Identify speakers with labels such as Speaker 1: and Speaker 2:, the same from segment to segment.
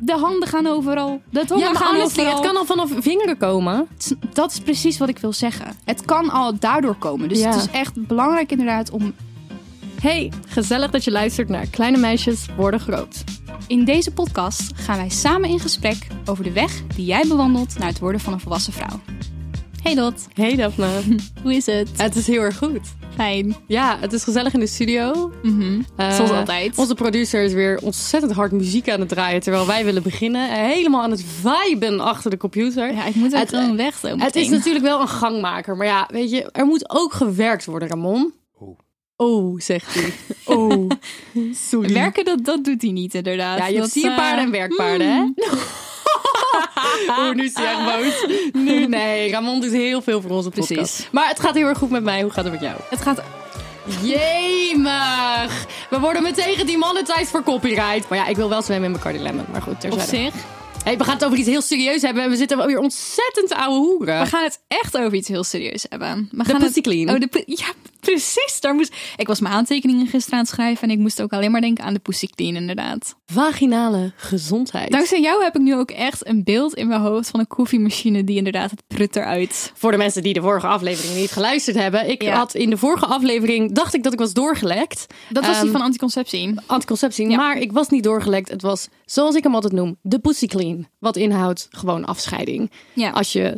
Speaker 1: De handen gaan overal. De tongen
Speaker 2: Ja, maar
Speaker 1: gaan
Speaker 2: honestly,
Speaker 1: overal.
Speaker 2: het kan al vanaf vingeren komen.
Speaker 1: Het- Dat is precies wat ik wil zeggen. Het kan al daardoor komen. Dus
Speaker 2: Ja.
Speaker 1: het is echt belangrijk inderdaad om...
Speaker 2: Hey, gezellig dat je luistert naar Kleine Meisjes Worden Groot.
Speaker 1: In deze podcast gaan wij samen in gesprek over de weg die jij bewandelt naar het worden van een volwassen vrouw. Hey Dot,
Speaker 2: Hey Daphne.
Speaker 1: hoe is het?
Speaker 2: het is heel erg goed.
Speaker 1: Fijn.
Speaker 2: Ja, het is gezellig in de studio. Eh,
Speaker 1: Mhm. Zoals altijd.
Speaker 2: Onze producer is weer ontzettend hard muziek aan het draaien... terwijl wij willen beginnen. Eh, Helemaal aan het viben achter de computer.
Speaker 1: Ja, ik moet er
Speaker 2: Het-
Speaker 1: gewoon weg zo
Speaker 2: het is
Speaker 1: meteen.
Speaker 2: natuurlijk wel een gangmaker. Maar ja, weet je, er moet ook gewerkt worden, Ramon. Oh, zegt hij. Oh, sorry.
Speaker 1: Werken, dat, dat doet hij niet inderdaad.
Speaker 2: Ja, je hebt
Speaker 1: Dat,
Speaker 2: sierpaarden
Speaker 1: eh,
Speaker 2: en werkpaarden, hè? Oeh, nu is hij echt
Speaker 1: Ah.
Speaker 2: boos. Nu, nee, Ramon doet heel veel voor onze podcast.
Speaker 1: Precies.
Speaker 2: Maar het gaat heel erg goed met mij. Hoe gaat het met jou?
Speaker 1: Het gaat...
Speaker 2: Jemig! We worden meteen gedemonetized voor copyright. Maar ja, ik wil wel zwemmen in mijn cardilemon. Maar goed,
Speaker 1: Op
Speaker 2: terzijde.
Speaker 1: zich,
Speaker 2: Hey, we gaan het over iets heel serieus hebben. En we zitten weer ontzettend ouwe hoeren.
Speaker 1: we gaan het echt over iets heel serieus hebben. We
Speaker 2: De
Speaker 1: gaan
Speaker 2: Pussy
Speaker 1: het...
Speaker 2: Clean.
Speaker 1: Oh, de pu- Ja, precies. Daar moest... Ik was mijn aantekeningen gisteren aan het schrijven en ik moest ook alleen maar denken aan de Pussy Clean inderdaad.
Speaker 2: Vaginale gezondheid.
Speaker 1: Dankzij jou heb ik nu ook echt een beeld in mijn hoofd van een koffiemachine die inderdaad het prut eruit.
Speaker 2: voor de mensen die de vorige aflevering niet geluisterd hebben. Ik
Speaker 1: Ja.
Speaker 2: had in de vorige aflevering, dacht ik dat ik was doorgelekt.
Speaker 1: Dat was die
Speaker 2: Ehm,
Speaker 1: van anticonceptie.
Speaker 2: anticonceptie. Maar ik was niet doorgelekt. Het was, zoals ik hem altijd noem, de pussy clean. Wat inhoudt gewoon afscheiding.
Speaker 1: Ja.
Speaker 2: Als je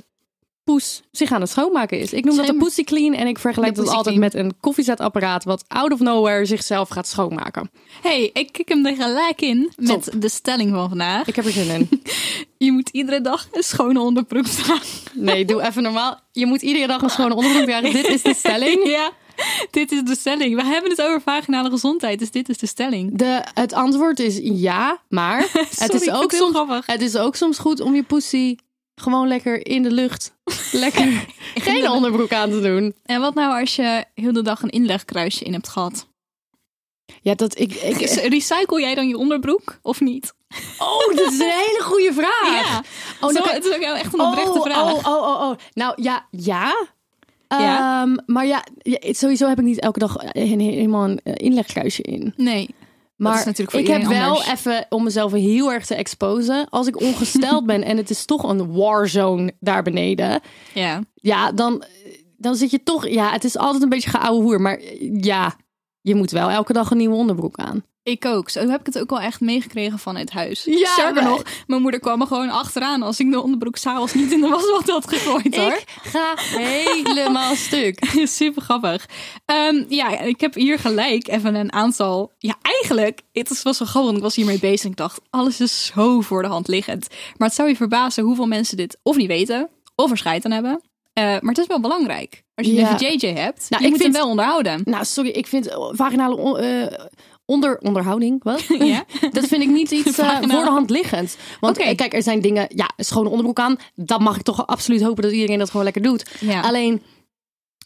Speaker 2: poes zich aan het schoonmaken is. Ik noem dat de
Speaker 1: Schijnbaar.
Speaker 2: pussy clean. En ik vergelijk
Speaker 1: De
Speaker 2: dat
Speaker 1: pussy
Speaker 2: altijd
Speaker 1: clean.
Speaker 2: met een koffiezetapparaat... wat out of nowhere zichzelf gaat schoonmaken.
Speaker 1: hey, ik kik hem er gelijk in met de stelling van vandaag.
Speaker 2: Ik heb er zin in.
Speaker 1: Je moet iedere dag een schone onderbroek dragen.
Speaker 2: Nee, doe even normaal. Je moet iedere dag een schone onderbroek dragen. Dit is de stelling.
Speaker 1: ja, dit is de stelling. We hebben het over vaginale gezondheid, dus dit is de stelling.
Speaker 2: De, het antwoord is ja, maar het,
Speaker 1: ik
Speaker 2: is
Speaker 1: vind
Speaker 2: ook
Speaker 1: het heel
Speaker 2: soms,
Speaker 1: grappig.
Speaker 2: het is ook soms goed om je pussy gewoon lekker in de lucht, lekker geen onderbroek aan te doen.
Speaker 1: En wat nou als je heel de dag een inlegkruisje in hebt gehad?
Speaker 2: Ja, dat ik.
Speaker 1: Dus
Speaker 2: ik
Speaker 1: Recycle jij dan je onderbroek of niet?
Speaker 2: oh, dat is een hele goede vraag.
Speaker 1: Ja.
Speaker 2: Oh,
Speaker 1: Oh,
Speaker 2: dan
Speaker 1: Zo,
Speaker 2: kan-
Speaker 1: Het is ook echt een oprechte
Speaker 2: oh,
Speaker 1: vraag.
Speaker 2: Oh, oh, oh, oh. Nou ja, ja.
Speaker 1: Ja?
Speaker 2: Ehm, maar ja, ja, sowieso heb ik niet elke dag eh, he- helemaal een eh, inlegkruisje in.
Speaker 1: Nee,
Speaker 2: Maar
Speaker 1: is natuurlijk voor
Speaker 2: ik heb
Speaker 1: iedereen
Speaker 2: wel
Speaker 1: anders.
Speaker 2: even om mezelf heel erg te exposen. Als ik ongesteld ben en het is toch een warzone daar beneden.
Speaker 1: ja.
Speaker 2: Ja, dan, eh, dan zit je toch. Ja, het is altijd een beetje geouwe hoer. Maar eh, ja, je moet wel elke dag een nieuwe onderbroek aan.
Speaker 1: Ik ook. Zo heb ik het ook wel echt meegekregen van het huis.
Speaker 2: Ja,
Speaker 1: Sterker
Speaker 2: wij-
Speaker 1: nog, mijn moeder kwam er gewoon achteraan als ik de onderbroek s'avonds niet in de wasbak had gegooid hoor.
Speaker 2: Ik ga helemaal stuk.
Speaker 1: Super grappig. Ehm, ja, en ik heb hier gelijk even een aantal. Ja, eigenlijk, het is- was wel grappig, want ik was hiermee bezig. en Ik dacht, alles is zo voor de hand liggend. Maar het zou je verbazen hoeveel mensen dit of niet weten, of er scheid aan hebben. Eh, maar het is wel belangrijk. Als je
Speaker 2: Ja.
Speaker 1: een JJ hebt,
Speaker 2: Nou,
Speaker 1: je
Speaker 2: ik
Speaker 1: moet
Speaker 2: vind-
Speaker 1: hem wel onderhouden.
Speaker 2: Nou, sorry, ik vind eh, vaginale on- eh, onder, onderhouding, wat?
Speaker 1: Ja.
Speaker 2: Dat vind ik niet iets eh,
Speaker 1: Vaginaal.
Speaker 2: voor de hand liggend. Want
Speaker 1: Oké.
Speaker 2: eh, kijk, er zijn dingen, ja, een schone onderbroek aan. Dat mag ik toch absoluut hopen dat iedereen dat gewoon lekker doet.
Speaker 1: Ja.
Speaker 2: Alleen,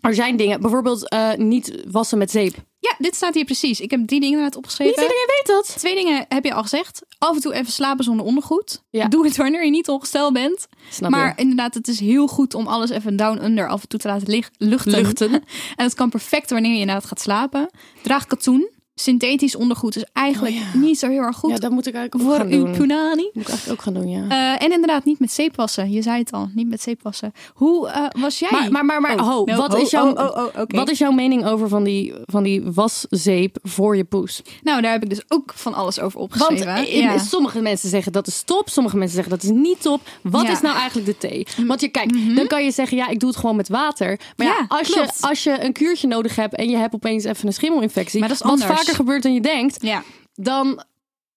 Speaker 2: er zijn dingen, bijvoorbeeld eh, niet wassen met zeep.
Speaker 1: Ja, dit staat hier precies. Ik heb drie dingen uit
Speaker 2: Niet
Speaker 1: opgeschreven.
Speaker 2: iedereen weet dat.
Speaker 1: Twee dingen heb je al gezegd. Af en toe even slapen zonder ondergoed.
Speaker 2: Ja.
Speaker 1: Doe het wanneer je niet ongesteld bent.
Speaker 2: Snap
Speaker 1: maar
Speaker 2: je.
Speaker 1: inderdaad, het is heel goed om alles even down under af en
Speaker 2: Oh
Speaker 1: toe te laten lig- luchten.
Speaker 2: Luchten.
Speaker 1: En dat kan perfect wanneer je inderdaad gaat slapen. Draag katoen. Synthetisch ondergoed is eigenlijk niet zo heel erg goed
Speaker 2: Ja, dat moet ik eigenlijk ook
Speaker 1: voor
Speaker 2: gaan
Speaker 1: uw
Speaker 2: doen. Dat
Speaker 1: punani.
Speaker 2: moet ik eigenlijk ook gaan doen, ja.
Speaker 1: Eh, en inderdaad, niet met zeep wassen. Je zei het al, niet met zeep wassen. Hoe eh, was jij?
Speaker 2: Maar, maar, maar, maar
Speaker 1: Oh,
Speaker 2: ho,
Speaker 1: no,
Speaker 2: wat,
Speaker 1: oh,
Speaker 2: is jouw,
Speaker 1: oh, oh, oh, oké.
Speaker 2: wat is jouw mening over van die, van die waszeep voor je poes?
Speaker 1: Nou, daar heb ik dus ook van alles over
Speaker 2: Want
Speaker 1: opgeschreven.
Speaker 2: in- sommige mensen zeggen dat is top, sommige mensen zeggen dat is niet top. Wat
Speaker 1: Ja. Mm-hmm.
Speaker 2: is nou eigenlijk de thee? Want je kijkt, dan kan je zeggen, ja, ik doe het gewoon met water. Maar ja,
Speaker 1: Ja,
Speaker 2: als, je,
Speaker 1: klopt.
Speaker 2: als je een kuurtje nodig hebt en je hebt opeens even een schimmelinfectie,
Speaker 1: Maar dat is
Speaker 2: wat
Speaker 1: anders.
Speaker 2: vaker gebeurt dan je denkt,
Speaker 1: ja.
Speaker 2: dan,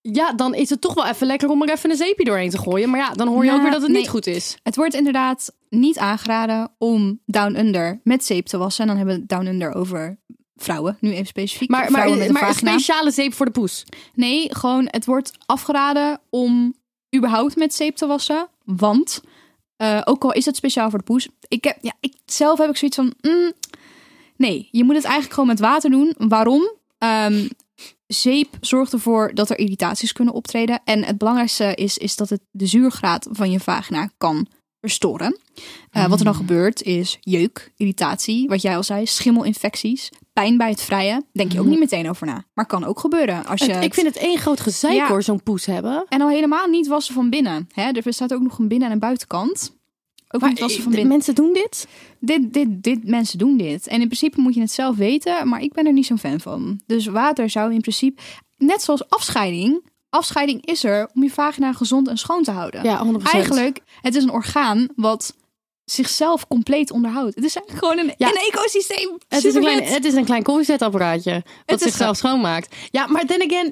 Speaker 2: ja, dan is het toch wel even lekker om er even een zeepje doorheen te gooien. Maar ja, dan hoor je
Speaker 1: Nou,
Speaker 2: ook weer dat het
Speaker 1: nee.
Speaker 2: niet goed is.
Speaker 1: Het wordt inderdaad niet aangeraden om Down Under met zeep te wassen. En dan hebben we Down Under over vrouwen, nu even specifiek.
Speaker 2: Maar, maar,
Speaker 1: vrouwen met een
Speaker 2: maar een
Speaker 1: vagina.
Speaker 2: speciale zeep voor de poes.
Speaker 1: Nee, gewoon het wordt afgeraden om überhaupt met zeep te wassen. Want, eh, ook al is het speciaal voor de poes, ik heb, ja, ik, zelf heb ik zoiets van, mm, nee, je moet het eigenlijk gewoon met water doen. Waarom? Ehm, zeep zorgt ervoor dat er irritaties kunnen optreden. En het belangrijkste is, is dat het de zuurgraad van je vagina kan verstoren. Eh, Wat er
Speaker 2: Mm.
Speaker 1: dan gebeurt is jeuk, irritatie, wat jij al zei, schimmelinfecties, pijn bij het vrije. Denk je ook niet meteen over na, maar kan ook gebeuren. Als je
Speaker 2: Mm. Het- ik vind het één groot gezeik
Speaker 1: Ja.
Speaker 2: hoor, zo'n poes hebben.
Speaker 1: En al helemaal niet wassen van binnen. Hè? Er bestaat ook nog een binnen- en een buitenkant. Ook niet wassen van
Speaker 2: de
Speaker 1: binnen.
Speaker 2: mensen doen dit?
Speaker 1: Dit, dit, dit, mensen doen dit. En in principe moet je het zelf weten, maar ik ben er niet zo'n fan van. Dus water zou in principe, net zoals afscheiding... Afscheiding is er om je vagina gezond en schoon te houden.
Speaker 2: Ja, 100%.
Speaker 1: Eigenlijk, het is een orgaan wat zichzelf compleet onderhoudt. Het is eigenlijk gewoon een,
Speaker 2: Ja.
Speaker 1: een ecosysteem.
Speaker 2: Het is, een klein,
Speaker 1: Supervet.
Speaker 2: het is een klein koffiezetapparaatje wat
Speaker 1: is
Speaker 2: zichzelf schoonmaakt. Ja, maar then again...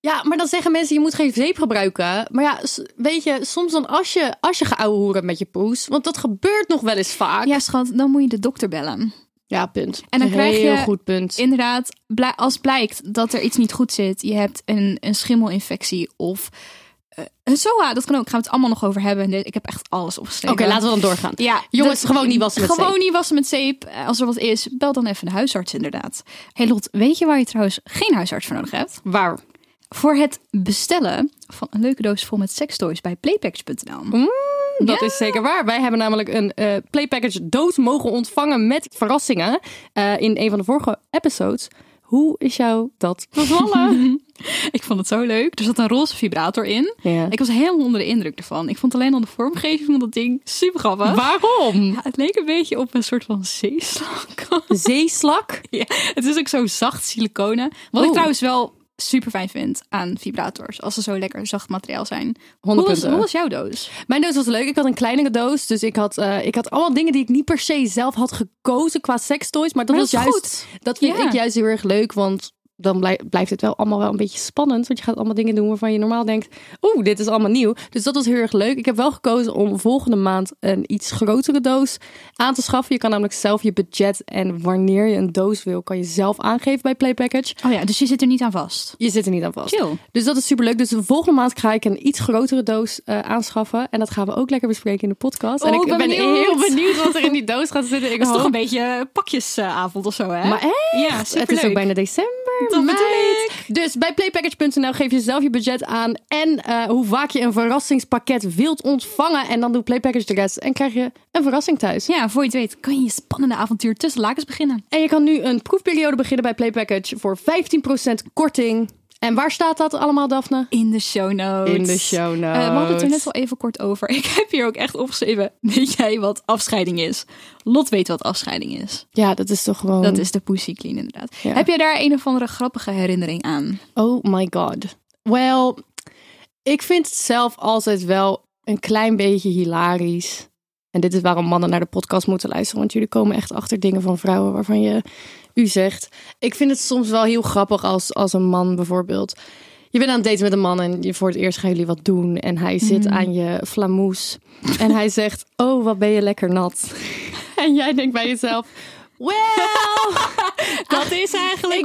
Speaker 2: Ja, maar dan zeggen mensen, je moet geen zeep gebruiken. Maar ja, s- weet je, soms dan als je, als je gaat hoeren met je poes... want dat gebeurt nog wel eens vaak.
Speaker 1: Ja, schat, dan moet je de dokter bellen.
Speaker 2: Ja, punt.
Speaker 1: En dan krijg
Speaker 2: Heel
Speaker 1: je-
Speaker 2: goed punt.
Speaker 1: Inderdaad, bla- als blijkt dat er iets niet goed zit, je hebt een, een schimmelinfectie of eh, een SOA, dat kan ook. Gaan we het allemaal nog over hebben. Dit- Ik heb echt alles
Speaker 2: Oké,
Speaker 1: opgeschreven.
Speaker 2: laten we dan doorgaan.
Speaker 1: Ja,
Speaker 2: Jongens, gewoon niet wassen met
Speaker 1: gewoon
Speaker 2: zeep.
Speaker 1: niet wassen met zeep. Eh, Als er wat is, bel dan even de huisarts inderdaad. Hey Lot, weet je waar je trouwens geen huisarts voor nodig hebt?
Speaker 2: Waar?
Speaker 1: Voor het bestellen van een leuke doos vol met sextoys bij playpacks.nl.
Speaker 2: Mm, Dat is zeker waar. Wij hebben namelijk een eh playpackage dood mogen ontvangen met verrassingen. eh, in een van de vorige episodes. Hoe is jou dat bevallen?
Speaker 1: Ik vond het zo leuk. Er zat een roze vibrator in.
Speaker 2: Ja.
Speaker 1: Ik was helemaal onder de indruk ervan. Ik vond alleen al de vormgeving van dat ding super grappig.
Speaker 2: Waarom?
Speaker 1: Ja, het leek een beetje op een soort van zeeslak.
Speaker 2: Zeeslak?
Speaker 1: ja, het is ook zo zacht siliconen. Wat ik
Speaker 2: Oeh.
Speaker 1: trouwens wel super fijn vind aan vibrators. Als ze zo lekker zacht materiaal zijn.
Speaker 2: Honderd
Speaker 1: Hoe was,
Speaker 2: punten.
Speaker 1: hoe was jouw doos?
Speaker 2: Mijn doos was leuk. Ik had een kleinere doos. Dus ik had, eh, ik had allemaal dingen die ik niet per se zelf had gekozen qua sextoys. Maar dat
Speaker 1: Maar
Speaker 2: was
Speaker 1: dat is
Speaker 2: juist. Dat vind
Speaker 1: Ja.
Speaker 2: ik juist heel erg leuk. Want dan blij- blijft het wel allemaal wel een beetje spannend. Want je gaat allemaal dingen doen waarvan je normaal denkt. Oeh, dit is allemaal nieuw. Dus dat was heel erg leuk. Ik heb wel gekozen om volgende maand een iets grotere doos aan te schaffen. Je kan namelijk zelf je budget en wanneer je een doos wil, kan je zelf aangeven bij Playpackage.
Speaker 1: Oh ja, dus je zit er niet aan vast.
Speaker 2: Je zit er niet aan vast.
Speaker 1: Chill.
Speaker 2: Dus dat is superleuk. Dus de volgende maand ga ik een iets grotere doos eh, aanschaffen. En dat gaan we ook lekker bespreken in de podcast. en
Speaker 1: Oh,
Speaker 2: ik
Speaker 1: ik ben benieuwd.
Speaker 2: heel benieuwd wat er in die doos gaat zitten. Ik
Speaker 1: Dat is toch
Speaker 2: hoop-
Speaker 1: een beetje eh, pakjesavond of zo, hè?
Speaker 2: Maar hè?
Speaker 1: Ja,
Speaker 2: Het is ook
Speaker 1: superleuk.
Speaker 2: bijna december.
Speaker 1: Dat bedoel
Speaker 2: meid. Dus bij playpackage.nl geef je zelf je budget aan. En eh, hoe vaak je een verrassingspakket wilt ontvangen. En dan doet Playpackage de rest. En krijg je een verrassing thuis.
Speaker 1: Ja, voor je het weet kan je je spannende avontuur tussen lakens beginnen.
Speaker 2: En je kan nu een proefperiode beginnen bij Playpackage voor 15% korting. En waar staat dat allemaal, Daphne?
Speaker 1: In de show notes.
Speaker 2: In de show
Speaker 1: Eh, we hadden het er net
Speaker 2: notes.
Speaker 1: al even kort over. Ik heb hier ook echt opgeschreven. Weet jij wat afscheiding is? Lot weet wat afscheiding is.
Speaker 2: Ja, dat is toch gewoon...
Speaker 1: Dat is de Pussy Clean inderdaad.
Speaker 2: Oh. Ja.
Speaker 1: Heb jij daar een of andere grappige herinnering aan?
Speaker 2: Oh my god. Wel, ik vind het zelf altijd wel een klein beetje hilarisch. En dit is waarom mannen naar de podcast moeten luisteren. Want jullie komen echt achter dingen van vrouwen waarvan je u zegt. Ik vind het soms wel heel grappig als, als een man bijvoorbeeld. Je bent aan het daten met een man en je, voor het eerst gaan jullie wat doen. En hij zit
Speaker 1: Mhm.
Speaker 2: aan je flamoes. En hij zegt, oh wat ben je lekker nat. En jij denkt bij jezelf, well,
Speaker 1: Dat is eigenlijk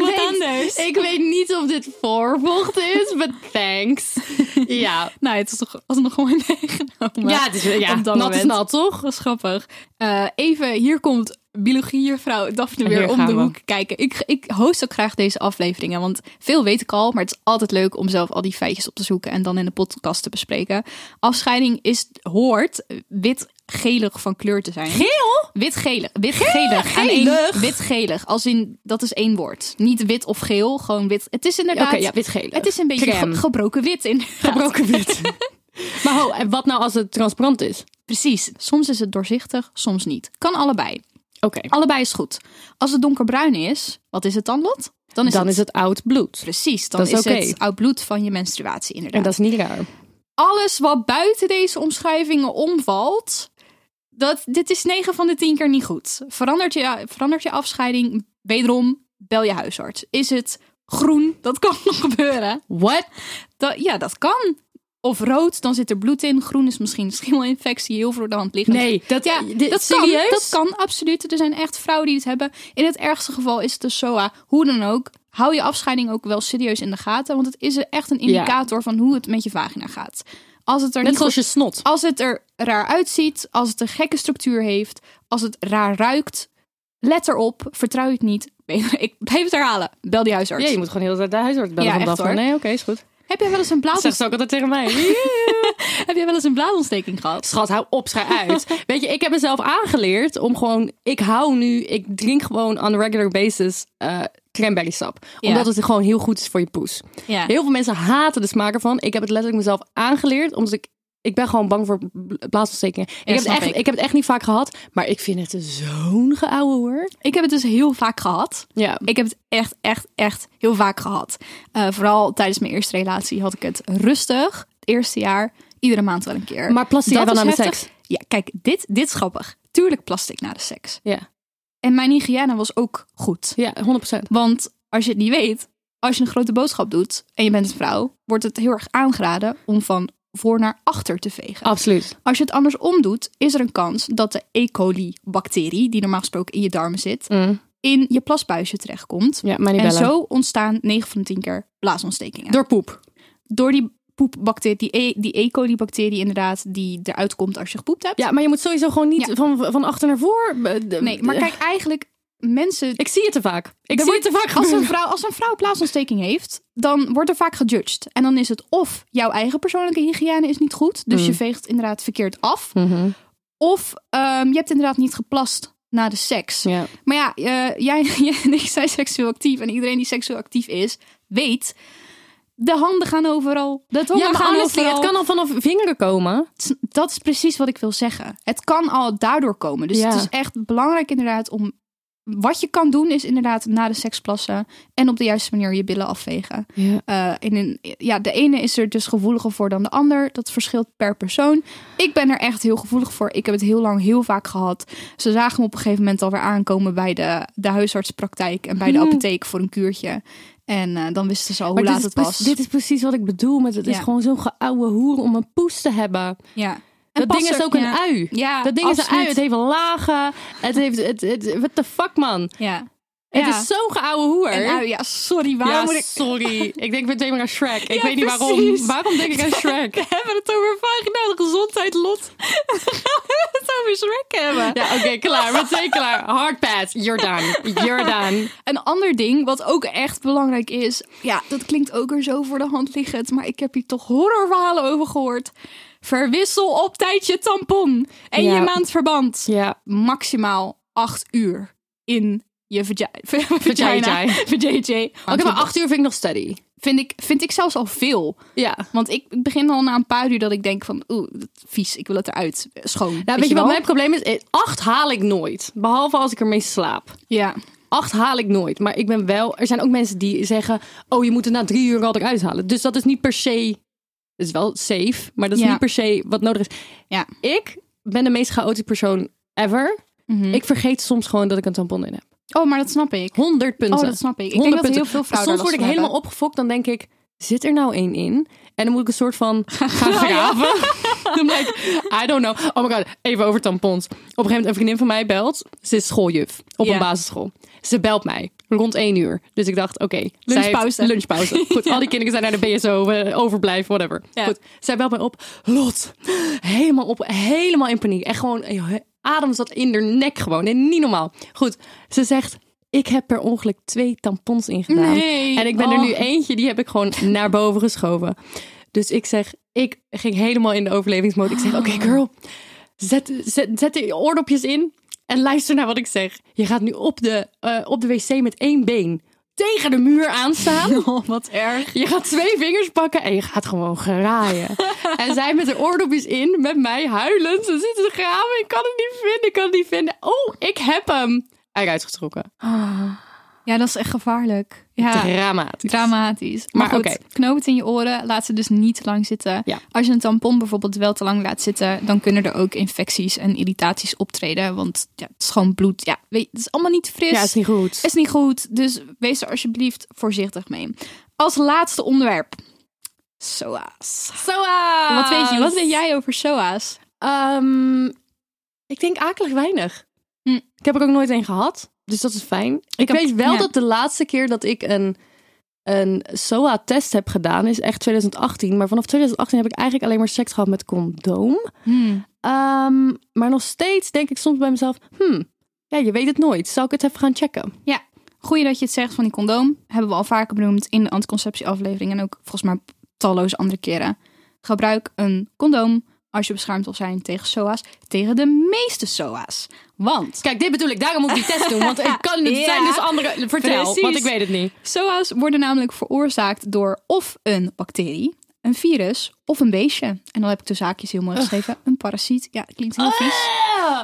Speaker 2: ik weet niet of dit voorvocht is, but thanks. Ja.
Speaker 1: Nou, het is toch alsnog gewoon meegenomen.
Speaker 2: Ja, het is ja,
Speaker 1: Op dat
Speaker 2: nat is
Speaker 1: moment.
Speaker 2: nat, toch?
Speaker 1: Dat is grappig. Eh, even, hier komt biologiejuffrouw Daphne weer
Speaker 2: Hier
Speaker 1: om
Speaker 2: gaan
Speaker 1: de
Speaker 2: we.
Speaker 1: hoek kijken. Ik, ik host ook graag deze afleveringen, want veel weet ik al. Maar het is altijd leuk om zelf al die feitjes op te zoeken en dan in de podcast te bespreken. Afscheiding is, hoort wit-gelig van kleur te zijn.
Speaker 2: Geel?
Speaker 1: Wit-gelig. Wit-gelig. Aan één-
Speaker 2: Gelig?
Speaker 1: Wit-gelig. Als in, dat is één woord. Niet wit of geel, gewoon wit. Het is
Speaker 2: Oké,
Speaker 1: inderdaad...
Speaker 2: ja, wit-gele.
Speaker 1: Het is een beetje
Speaker 2: Crème.
Speaker 1: ge- gebroken wit in.
Speaker 2: gebroken wit. maar ho, en wat nou als het transparant is?
Speaker 1: Precies. Soms is het doorzichtig, soms niet. Kan allebei.
Speaker 2: Oké.
Speaker 1: Allebei is goed. Als het donkerbruin is, wat is het dan, Lot? Dan is,
Speaker 2: Dan
Speaker 1: het,
Speaker 2: is het oud bloed.
Speaker 1: precies. Dan
Speaker 2: Dat is
Speaker 1: is,
Speaker 2: oké.
Speaker 1: het oud bloed van je menstruatie, inderdaad.
Speaker 2: En dat is niet raar.
Speaker 1: Alles wat buiten deze omschrijvingen omvalt, dat, dit is 9 van de 10 keer niet goed. Verandert je, verandert je afscheiding, wederom, bel je huisarts. Is het groen? Dat kan nog gebeuren.
Speaker 2: What?
Speaker 1: Dat, ja, dat kan. Of rood, dan zit er bloed in. Groen is misschien schimmelinfectie, heel voor de hand liggend.
Speaker 2: Nee, dat,
Speaker 1: Ja,
Speaker 2: dit,
Speaker 1: dat, kan,
Speaker 2: serieus?
Speaker 1: dat kan absoluut. Er zijn echt vrouwen die het hebben. In het ergste geval is het de SOA. Hoe dan ook, hou je afscheiding ook wel serieus in de gaten. Want het is echt een indicator van hoe het met je vagina gaat. Als het er
Speaker 2: Net
Speaker 1: niet
Speaker 2: zoals
Speaker 1: goed,
Speaker 2: je snot.
Speaker 1: als het er raar uitziet, als het een gekke structuur heeft, als het raar ruikt, let erop. Vertrouw het niet. Ik blijf het herhalen. Bel die huisarts.
Speaker 2: Ja, je moet gewoon heel de tijd de huisarts bellen
Speaker 1: Ja,
Speaker 2: van
Speaker 1: echt
Speaker 2: Daphne.
Speaker 1: hoor.
Speaker 2: Nee, oké, is goed.
Speaker 1: Heb jij wel eens een
Speaker 2: Dat zegt
Speaker 1: blaasontsteking?
Speaker 2: ze ook altijd tegen mij.
Speaker 1: Heb jij wel eens een blaasontsteking gehad?
Speaker 2: Schat, hou op, schrijf uit. Weet je, ik heb mezelf aangeleerd om gewoon... Ik hou nu, ik drink gewoon on a regular basis eh cranberry sap.
Speaker 1: Ja.
Speaker 2: Omdat het gewoon heel goed is voor je poes.
Speaker 1: Ja.
Speaker 2: Heel veel mensen haten de smaak ervan. Ik heb het letterlijk mezelf aangeleerd, omdat ik... Ik ben gewoon bang voor bla- blaasontstekingen. ik, heb het
Speaker 1: snap
Speaker 2: echt,
Speaker 1: ik.
Speaker 2: ik. heb het echt niet vaak gehad, maar ik vind het zo'n geouwe hoor.
Speaker 1: Ik heb het dus heel vaak gehad.
Speaker 2: Ja.
Speaker 1: Ik heb het echt, echt, echt heel vaak gehad. Eh, vooral tijdens mijn eerste relatie had ik het rustig. Het eerste jaar, iedere maand wel een keer. Dus
Speaker 2: Maar plaste jij
Speaker 1: Dat
Speaker 2: wel
Speaker 1: is
Speaker 2: na de
Speaker 1: heftig. Ja, kijk, dit, dit is grappig. Tuurlijk plaste ik na de seks.
Speaker 2: Ja.
Speaker 1: En mijn hygiëne was ook goed.
Speaker 2: Ja, 100%.
Speaker 1: Want als je het niet weet, als je een grote boodschap doet en je bent een vrouw, wordt het heel erg aangeraden om van voor naar achter te vegen.
Speaker 2: Absoluut.
Speaker 1: Als je het andersom doet, is er een kans dat de E. coli-bacterie, die normaal gesproken in je darmen zit, in je plasbuisje terechtkomt.
Speaker 2: Mm. Ja, maar niet
Speaker 1: En
Speaker 2: bellen.
Speaker 1: zo ontstaan 9 van de 10 keer blaasontstekingen. Door,
Speaker 2: Door poep.
Speaker 1: die poepbacterie, die E. Die e. coli-bacterie inderdaad, die eruit komt als je gepoept hebt.
Speaker 2: Ja, maar je moet sowieso gewoon niet
Speaker 1: Ja.
Speaker 2: van, van achter naar voor. eh, de-
Speaker 1: Nee, maar kijk, eigenlijk mensen...
Speaker 2: Ik zie het te vaak. Ik zie
Speaker 1: Er wordt-
Speaker 2: het te vaak
Speaker 1: Als een,
Speaker 2: gebeuren.
Speaker 1: vrouw, als een vrouw blaasontsteking heeft, dan wordt er vaak gejudged. En dan is het of jouw eigen persoonlijke hygiëne is niet goed. Dus
Speaker 2: Mhm.
Speaker 1: je veegt inderdaad verkeerd af. Of ehm, je hebt inderdaad niet geplast na de seks.
Speaker 2: Ja.
Speaker 1: Maar ja, eh, jij, jij en ik zijn seksueel actief. En iedereen die seksueel actief is, weet... De handen gaan overal. De tongen
Speaker 2: Ja, maar
Speaker 1: gaan
Speaker 2: honestly,
Speaker 1: overal.
Speaker 2: het kan al vanaf vingeren komen.
Speaker 1: Het- Dat is precies wat ik wil zeggen. Het kan al daardoor komen. Dus
Speaker 2: Ja.
Speaker 1: het is echt belangrijk inderdaad om... Wat je kan doen is inderdaad na de seks plassen... en op de juiste manier je billen afvegen.
Speaker 2: Ja.
Speaker 1: Eh, in een, ja, de ene is er dus gevoeliger voor dan de ander. Dat verschilt per persoon. Ik ben er echt heel gevoelig voor. Ik heb het heel lang heel vaak gehad. Ze zagen me op een gegeven moment alweer aankomen bij de, de huisartspraktijk en bij de
Speaker 2: Hmm.
Speaker 1: apotheek voor een kuurtje. En eh, dan wisten ze al hoe laat
Speaker 2: dit,
Speaker 1: het
Speaker 2: is,
Speaker 1: was.
Speaker 2: pre- dit is precies wat ik bedoel. Met het is
Speaker 1: Ja.
Speaker 2: gewoon zo'n geouwe hoer om een poes te hebben.
Speaker 1: ja. En
Speaker 2: dat
Speaker 1: pas
Speaker 2: ding is
Speaker 1: er-
Speaker 2: ook een
Speaker 1: ja.
Speaker 2: ui.
Speaker 1: Ja,
Speaker 2: dat ding is een
Speaker 1: absoluut.
Speaker 2: ui. Het heeft lagen. Het heeft... Het, het, what the fuck, man?
Speaker 1: Ja.
Speaker 2: Het
Speaker 1: Ja.
Speaker 2: is zo'n geouwe hoer.
Speaker 1: Een ui. Ja, sorry. Waarom
Speaker 2: ja,
Speaker 1: moet ik...
Speaker 2: sorry. Ik denk meteen maar aan Shrek. Ik
Speaker 1: Ja,
Speaker 2: weet niet
Speaker 1: precies.
Speaker 2: waarom. Waarom denk ik aan Shrek?
Speaker 1: We hebben het over vaginale gezondheid, Lot. Dan gaan we het over Shrek hebben.
Speaker 2: Ja, oké, klaar. Meteen klaar. Hard pass. You're done. You're done.
Speaker 1: Een ander ding wat ook echt belangrijk is. Ja, dat klinkt ook er zo voor de hand liggend. Maar ik heb hier toch horrorverhalen over gehoord. Verwissel op tijd je tampon en
Speaker 2: Ja.
Speaker 1: je maandverband.
Speaker 2: Ja.
Speaker 1: Maximaal acht uur in je vagi- vagina.
Speaker 2: Vagina.
Speaker 1: Vagina.
Speaker 2: Oké, maar acht uur vind ik nog steady.
Speaker 1: vind ik, vind ik zelfs al veel.
Speaker 2: Ja.
Speaker 1: Want ik begin al na een paar uur dat ik denk van... Oeh, dat is vies, ik wil het eruit. Eh, Schoon.
Speaker 2: Nou, weet je wat mijn probleem is? Eh, Acht haal ik nooit. Behalve als ik ermee slaap.
Speaker 1: Ja.
Speaker 2: Acht haal ik nooit. Maar ik ben wel... Er zijn ook mensen die zeggen... Oh, je moet het na drie uur al eruit halen. Dus dat is niet per se... Het is wel safe. Maar dat is
Speaker 1: Ja.
Speaker 2: niet per se wat nodig is.
Speaker 1: Ja.
Speaker 2: Ik ben de meest chaotische persoon ever. Ik vergeet soms gewoon dat ik een tampon in heb.
Speaker 1: Mhm. Oh, maar dat snap ik.
Speaker 2: 100 punten.
Speaker 1: Oh, dat snap ik. Ik
Speaker 2: 100
Speaker 1: denk dat
Speaker 2: punten.
Speaker 1: heel veel vrouwen
Speaker 2: Soms
Speaker 1: daar
Speaker 2: word
Speaker 1: last
Speaker 2: ik
Speaker 1: van
Speaker 2: helemaal opgefokt. Dan denk ik, zit er nou één in? En dan moet ik een soort van gaan graven. dan blijkt, I don't know. Oh my god, even over tampons. Op een gegeven moment een vriendin van mij belt. Ze is schooljuf op
Speaker 1: Ja.
Speaker 2: een basisschool. Ze belt mij rond één uur. Dus ik dacht, oké. zij heeft
Speaker 1: Lunchpauze.
Speaker 2: Lunchpauze. Goed, al die kinderen zijn naar de BSO, eh, overblijf, whatever.
Speaker 1: Ja.
Speaker 2: Goed, zij belt mij op. Lot, helemaal op, helemaal in paniek. Echt gewoon, eh, adem zat in haar nek gewoon. Nee, niet normaal. Goed, ze zegt, ik heb per ongeluk twee tampons ingedaan.
Speaker 1: Nee.
Speaker 2: Nou, En ik ben er
Speaker 1: Oh.
Speaker 2: nu eentje, die heb ik gewoon naar boven geschoven. Dus ik zeg, ik ging helemaal in de overlevingsmode. Ik zeg, oké
Speaker 1: Oh.
Speaker 2: girl, zet, zet, zet de oordopjes in en luister naar wat ik zeg. Je gaat nu op de, eh, op de wc met één been tegen de muur aanstaan.
Speaker 1: Oh, wat erg.
Speaker 2: Je gaat twee vingers pakken en je gaat gewoon geraaien. en zij met haar oordopjes in, met mij huilend. Ze zitten te graven. Ik kan het niet vinden, ik kan het niet vinden. Oh, ik heb hem. Eruit getrokken.
Speaker 1: Ja, dat is echt gevaarlijk. Ja,
Speaker 2: Dramatisch.
Speaker 1: dramatisch. Maar,
Speaker 2: Maar
Speaker 1: goed,
Speaker 2: oké.
Speaker 1: knoop het in je oren. Laat ze dus niet te lang zitten.
Speaker 2: Ja.
Speaker 1: Als je een tampon bijvoorbeeld wel te lang laat zitten... dan kunnen er ook infecties en irritaties optreden. Want ja, het is gewoon bloed. Ja, weet, het is allemaal niet fris.
Speaker 2: Ja, is niet goed.
Speaker 1: Is niet goed. Dus wees er alsjeblieft voorzichtig mee. Als laatste onderwerp. SOA's.
Speaker 2: Soa!
Speaker 1: Wat weet, je, wat weet jij over SOA's?
Speaker 2: uh, Ehm, ik denk akelig weinig.
Speaker 1: Hm.
Speaker 2: Ik heb er ook nooit een gehad, dus dat is fijn. Ik,
Speaker 1: heb-
Speaker 2: weet wel
Speaker 1: ja.
Speaker 2: dat de laatste keer dat ik een een SOA-test heb gedaan, is echt 2018. Maar vanaf 2018 heb ik eigenlijk alleen maar seks gehad met condoom.
Speaker 1: Hm.
Speaker 2: Ehm, maar nog steeds denk ik soms bij mezelf, hmm, ja, je weet het nooit. Zal ik het even gaan checken?
Speaker 3: Ja, goeie dat je het zegt van die condoom. Hebben we al vaker benoemd in de anticonceptieaflevering en ook volgens mij talloze andere keren. Gebruik een condoom als je beschermd wil zijn tegen SOA's, tegen de meeste SOA's. Want
Speaker 2: Kijk, dit bedoel ik. Daarom moet ik die test doen. Want ik kan,
Speaker 3: het zijn dus
Speaker 2: andere...
Speaker 3: vertel, want ik
Speaker 2: weet het niet.
Speaker 3: SOA's worden namelijk veroorzaakt door of een bacterie, een virus of een beestje. En dan heb ik de zaakjes heel
Speaker 2: Ah.
Speaker 3: mooi geschreven. Een parasiet. Ja, klinkt heel vies.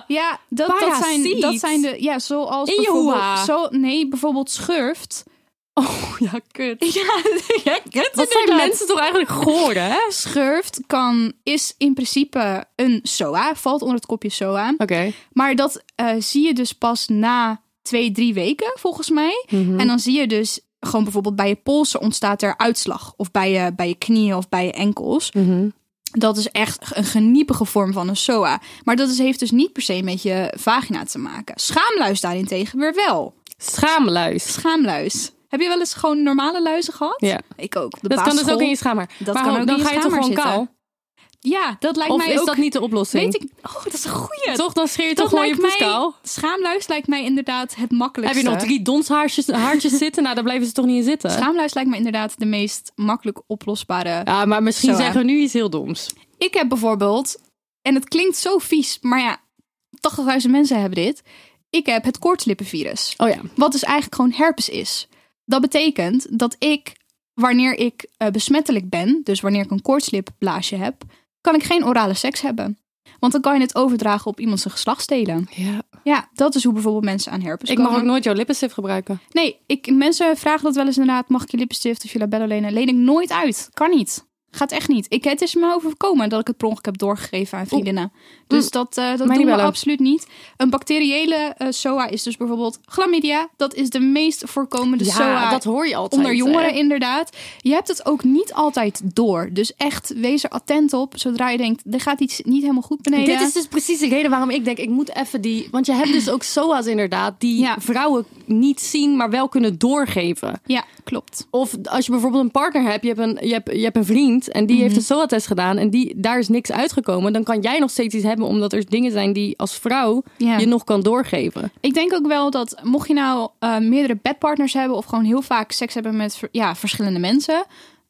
Speaker 3: Ja, dat, dat, zijn,
Speaker 2: Parasiet?
Speaker 3: dat zijn de... Ja, zoals
Speaker 2: In je
Speaker 3: bijvoorbeeld...
Speaker 2: hoeha.
Speaker 3: Zo, nee, bijvoorbeeld schurft.
Speaker 2: Oh, ja, kut.
Speaker 3: Ja, ja kut
Speaker 2: Wat zijn
Speaker 3: inderdaad.
Speaker 2: mensen toch eigenlijk goor, hè? Oké.
Speaker 3: Schurft kan, is in principe een SOA, valt onder het kopje SOA. Maar dat eh, zie je dus pas na twee, drie weken, volgens mij.
Speaker 2: Mhm.
Speaker 3: En dan zie je dus gewoon bijvoorbeeld bij je polsen ontstaat er uitslag. Of bij je, bij je knieën of bij je enkels.
Speaker 2: Mhm.
Speaker 3: Dat is echt een geniepige vorm van een SOA. Maar dat is, heeft dus niet per se met je vagina te maken. Schaamluis daarentegen weer wel.
Speaker 2: Schaamluis.
Speaker 3: Schaamluis. Heb je wel eens gewoon normale luizen gehad?
Speaker 2: Ja.
Speaker 3: Ik ook. op De
Speaker 2: Dat kan dus
Speaker 3: basisschool.
Speaker 2: ook in je schaamhaar.
Speaker 3: Dat
Speaker 2: maar
Speaker 3: kan
Speaker 2: ho,
Speaker 3: ook
Speaker 2: dan
Speaker 3: in je
Speaker 2: ga je toch gewoon
Speaker 3: schaamhaar
Speaker 2: kaal?
Speaker 3: zitten. Ja, dat lijkt
Speaker 2: Of
Speaker 3: mij
Speaker 2: is
Speaker 3: ook...
Speaker 2: dat niet de oplossing?
Speaker 3: Weet ik... Oh, dat is een goeie.
Speaker 2: Toch, dan schreeuw je
Speaker 3: dat
Speaker 2: toch gewoon je
Speaker 3: lijkt
Speaker 2: poes
Speaker 3: mij...
Speaker 2: kaal?
Speaker 3: Schaamluis lijkt mij inderdaad het
Speaker 2: Heb
Speaker 3: makkelijkste.
Speaker 2: je nog drie donshaartjes haartjes zitten? Nou, daar blijven ze toch niet in zitten?
Speaker 3: Schaamluis lijkt me inderdaad de meest makkelijk oplosbare.
Speaker 2: Ja, maar misschien
Speaker 3: Zo, hè.
Speaker 2: zeggen we nu iets heel doms.
Speaker 3: Ik heb bijvoorbeeld, en het klinkt zo vies, maar ja, 80.000 mensen hebben dit. Ik heb het koortslippenvirus.
Speaker 2: Oh ja.
Speaker 3: Wat dus eigenlijk gewoon herpes is. Dat betekent dat ik, wanneer ik eh, besmettelijk ben, dus wanneer ik een koortslipblaasje heb, kan ik geen orale seks hebben. Want dan kan je het overdragen op iemand zijn geslachtsdelen.
Speaker 2: ja.
Speaker 3: Ja, dat is hoe bijvoorbeeld mensen aan herpes
Speaker 2: Ik
Speaker 3: komen.
Speaker 2: mag ook nooit jouw lippenstift gebruiken.
Speaker 3: Nee, ik, mensen vragen dat wel eens inderdaad. Mag ik je lippenstift of je labello lenen? Leen ik nooit uit. Kan niet. Gaat echt niet. Ik, het is me overkomen dat ik het per ongeluk heb doorgegeven aan vriendinnen. Dus dat, eh dat
Speaker 2: niet
Speaker 3: doen we
Speaker 2: bellen.
Speaker 3: absoluut niet. Een bacteriële eh, SOA is dus bijvoorbeeld chlamydia. Dat is de meest voorkomende SOA
Speaker 2: hoor je altijd.
Speaker 3: onder jongeren inderdaad. Je hebt het ook niet altijd door. Dus echt, wees er attent op. Zodra je denkt, er gaat iets niet helemaal goed beneden.
Speaker 2: Dit is dus precies de reden waarom ik denk, ik moet even die... Want je hebt dus ook SOA's inderdaad, die
Speaker 3: Ja.
Speaker 2: vrouwen niet zien, maar wel kunnen doorgeven.
Speaker 3: Ja, klopt.
Speaker 2: Of als je bijvoorbeeld een partner hebt, je hebt een, je hebt, je hebt een vriend en die heeft een SOA-test gedaan en die, daar is niks uitgekomen. Dan kan jij nog steeds iets hebben, omdat er dingen zijn die als vrouw
Speaker 3: Ja.
Speaker 2: je nog kan doorgeven.
Speaker 3: Ik denk ook wel dat mocht je nou eh, meerdere bedpartners hebben of gewoon heel vaak seks hebben met ver- ja, verschillende mensen,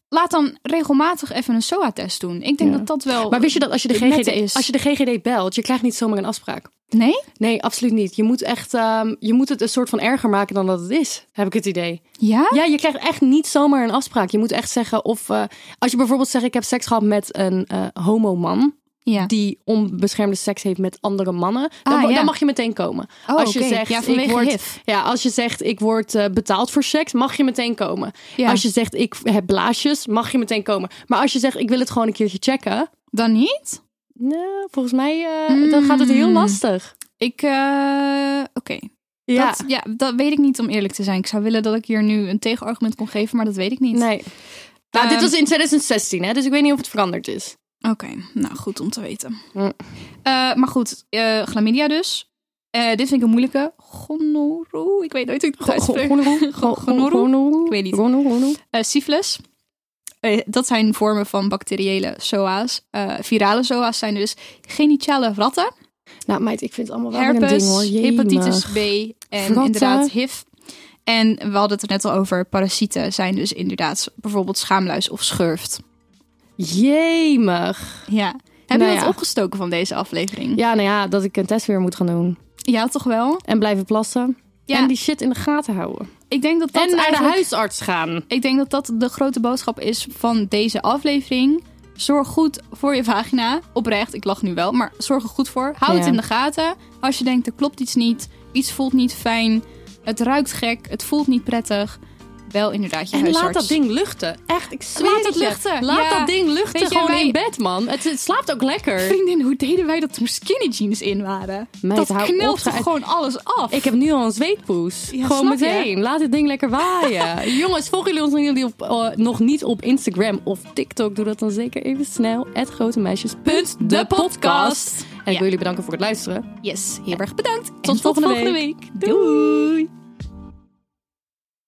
Speaker 3: laat dan regelmatig even een SOA-test doen. Ik denk dat dat wel.
Speaker 2: Maar wist je dat als je de
Speaker 3: het nette
Speaker 2: GGD,
Speaker 3: is?
Speaker 2: als je de GGD belt, je krijgt niet zomaar een afspraak?
Speaker 3: Nee?
Speaker 2: Nee, absoluut niet. Je moet, echt, ehm, je moet het een soort van erger maken dan dat het is, heb ik het idee.
Speaker 3: Ja?
Speaker 2: Ja, je krijgt echt niet zomaar een afspraak. Je moet echt zeggen of... eh, als je bijvoorbeeld zegt, ik heb seks gehad met een eh homo-man...
Speaker 3: Ja.
Speaker 2: die onbeschermde seks heeft met andere mannen... dan,
Speaker 3: Ah,
Speaker 2: mo-
Speaker 3: ja.
Speaker 2: dan mag je meteen komen.
Speaker 3: Oh,
Speaker 2: als je
Speaker 3: oké.
Speaker 2: zegt,
Speaker 3: Ja, vanwege
Speaker 2: ik word,
Speaker 3: HIV.
Speaker 2: ja, als je zegt, ik word eh, betaald voor seks... mag je meteen komen.
Speaker 3: Ja.
Speaker 2: Als je zegt, ik heb blaasjes, mag je meteen komen. Maar als je zegt, ik wil het gewoon een keertje checken...
Speaker 3: Dan niet?
Speaker 2: Nou, volgens mij eh, dan gaat het heel
Speaker 3: Mm.
Speaker 2: lastig.
Speaker 3: Ik. eh, Oké.
Speaker 2: Ja.
Speaker 3: Dat, ja, dat weet ik niet om eerlijk te zijn. Ik zou willen dat ik hier nu een tegenargument kon geven, maar dat weet ik niet.
Speaker 2: Nee. Nou, dit
Speaker 3: Ehm,
Speaker 2: was in 2016, hè? dus ik weet niet of het veranderd is.
Speaker 3: Oké, nou goed om te weten.
Speaker 2: Mm.
Speaker 3: Eh, maar goed, eh, chlamydia dus. Eh, dit vind ik een moeilijke. Gonorrhoe. Ik weet nooit hoe ik het uitspreek. Go- gonorroe? Ik weet niet. Eh, syphilis. Eh, dat zijn vormen van bacteriële SOA's. Eh, virale SOA's zijn dus genitale ratten,
Speaker 2: Nou, meid, ik vind het allemaal wel
Speaker 3: herpes,
Speaker 2: een ding hoor.
Speaker 1: dus
Speaker 3: hepatitis B en
Speaker 2: Ratten.
Speaker 3: inderdaad HIV. En we hadden het er net al over, parasieten zijn dus inderdaad bijvoorbeeld schaamluis of schurft.
Speaker 2: Jemig.
Speaker 3: Ja. Heb
Speaker 2: Nou
Speaker 3: je wat
Speaker 2: ja.
Speaker 3: opgestoken van deze aflevering?
Speaker 2: Ja, nou ja, dat ik een test weer moet gaan doen.
Speaker 3: Ja, toch wel?
Speaker 2: En blijven plassen.
Speaker 3: Ja.
Speaker 2: En die shit in de gaten houden.
Speaker 3: Ik denk dat dat
Speaker 2: en eh, naar de
Speaker 3: eigenlijk-
Speaker 2: huisarts gaan.
Speaker 3: Ik denk dat dat de grote boodschap is van deze aflevering. Zorg goed voor je vagina. Oprecht, ik lach nu wel, maar zorg er goed voor. Hou het
Speaker 2: Ja.
Speaker 3: in de gaten. Als je denkt, er klopt iets niet, iets voelt niet fijn, het ruikt gek, het voelt niet prettig. Wel inderdaad je
Speaker 2: En
Speaker 3: huisarts.
Speaker 2: laat dat ding luchten. Echt, ik zweer
Speaker 3: Laat het
Speaker 2: je.
Speaker 3: luchten,
Speaker 2: Laat
Speaker 3: ja.
Speaker 2: dat ding luchten
Speaker 3: Weet je,
Speaker 2: gewoon
Speaker 3: wij-
Speaker 2: in bed, man. Het, het slaapt ook lekker.
Speaker 3: Vriendin, hoe deden wij dat toen skinny jeans in waren?
Speaker 2: Meid,
Speaker 3: dat
Speaker 2: hou op,
Speaker 3: knelt toch
Speaker 2: zeg.
Speaker 3: gewoon alles af?
Speaker 2: Ik heb nu al een zweetpoes.
Speaker 3: Ja,
Speaker 2: Gewoon
Speaker 3: snap je?
Speaker 2: meteen. Laat dit ding lekker waaien. Jongens, volgen jullie ons nog niet op, eh, nog niet op Instagram of TikTok? Doe dat dan zeker even snel. Het grote meisjes.
Speaker 3: de podcast.
Speaker 2: En ik wil jullie bedanken voor het luisteren.
Speaker 3: Yes, heel erg bedankt. En
Speaker 2: volgende week.
Speaker 3: week. Doei.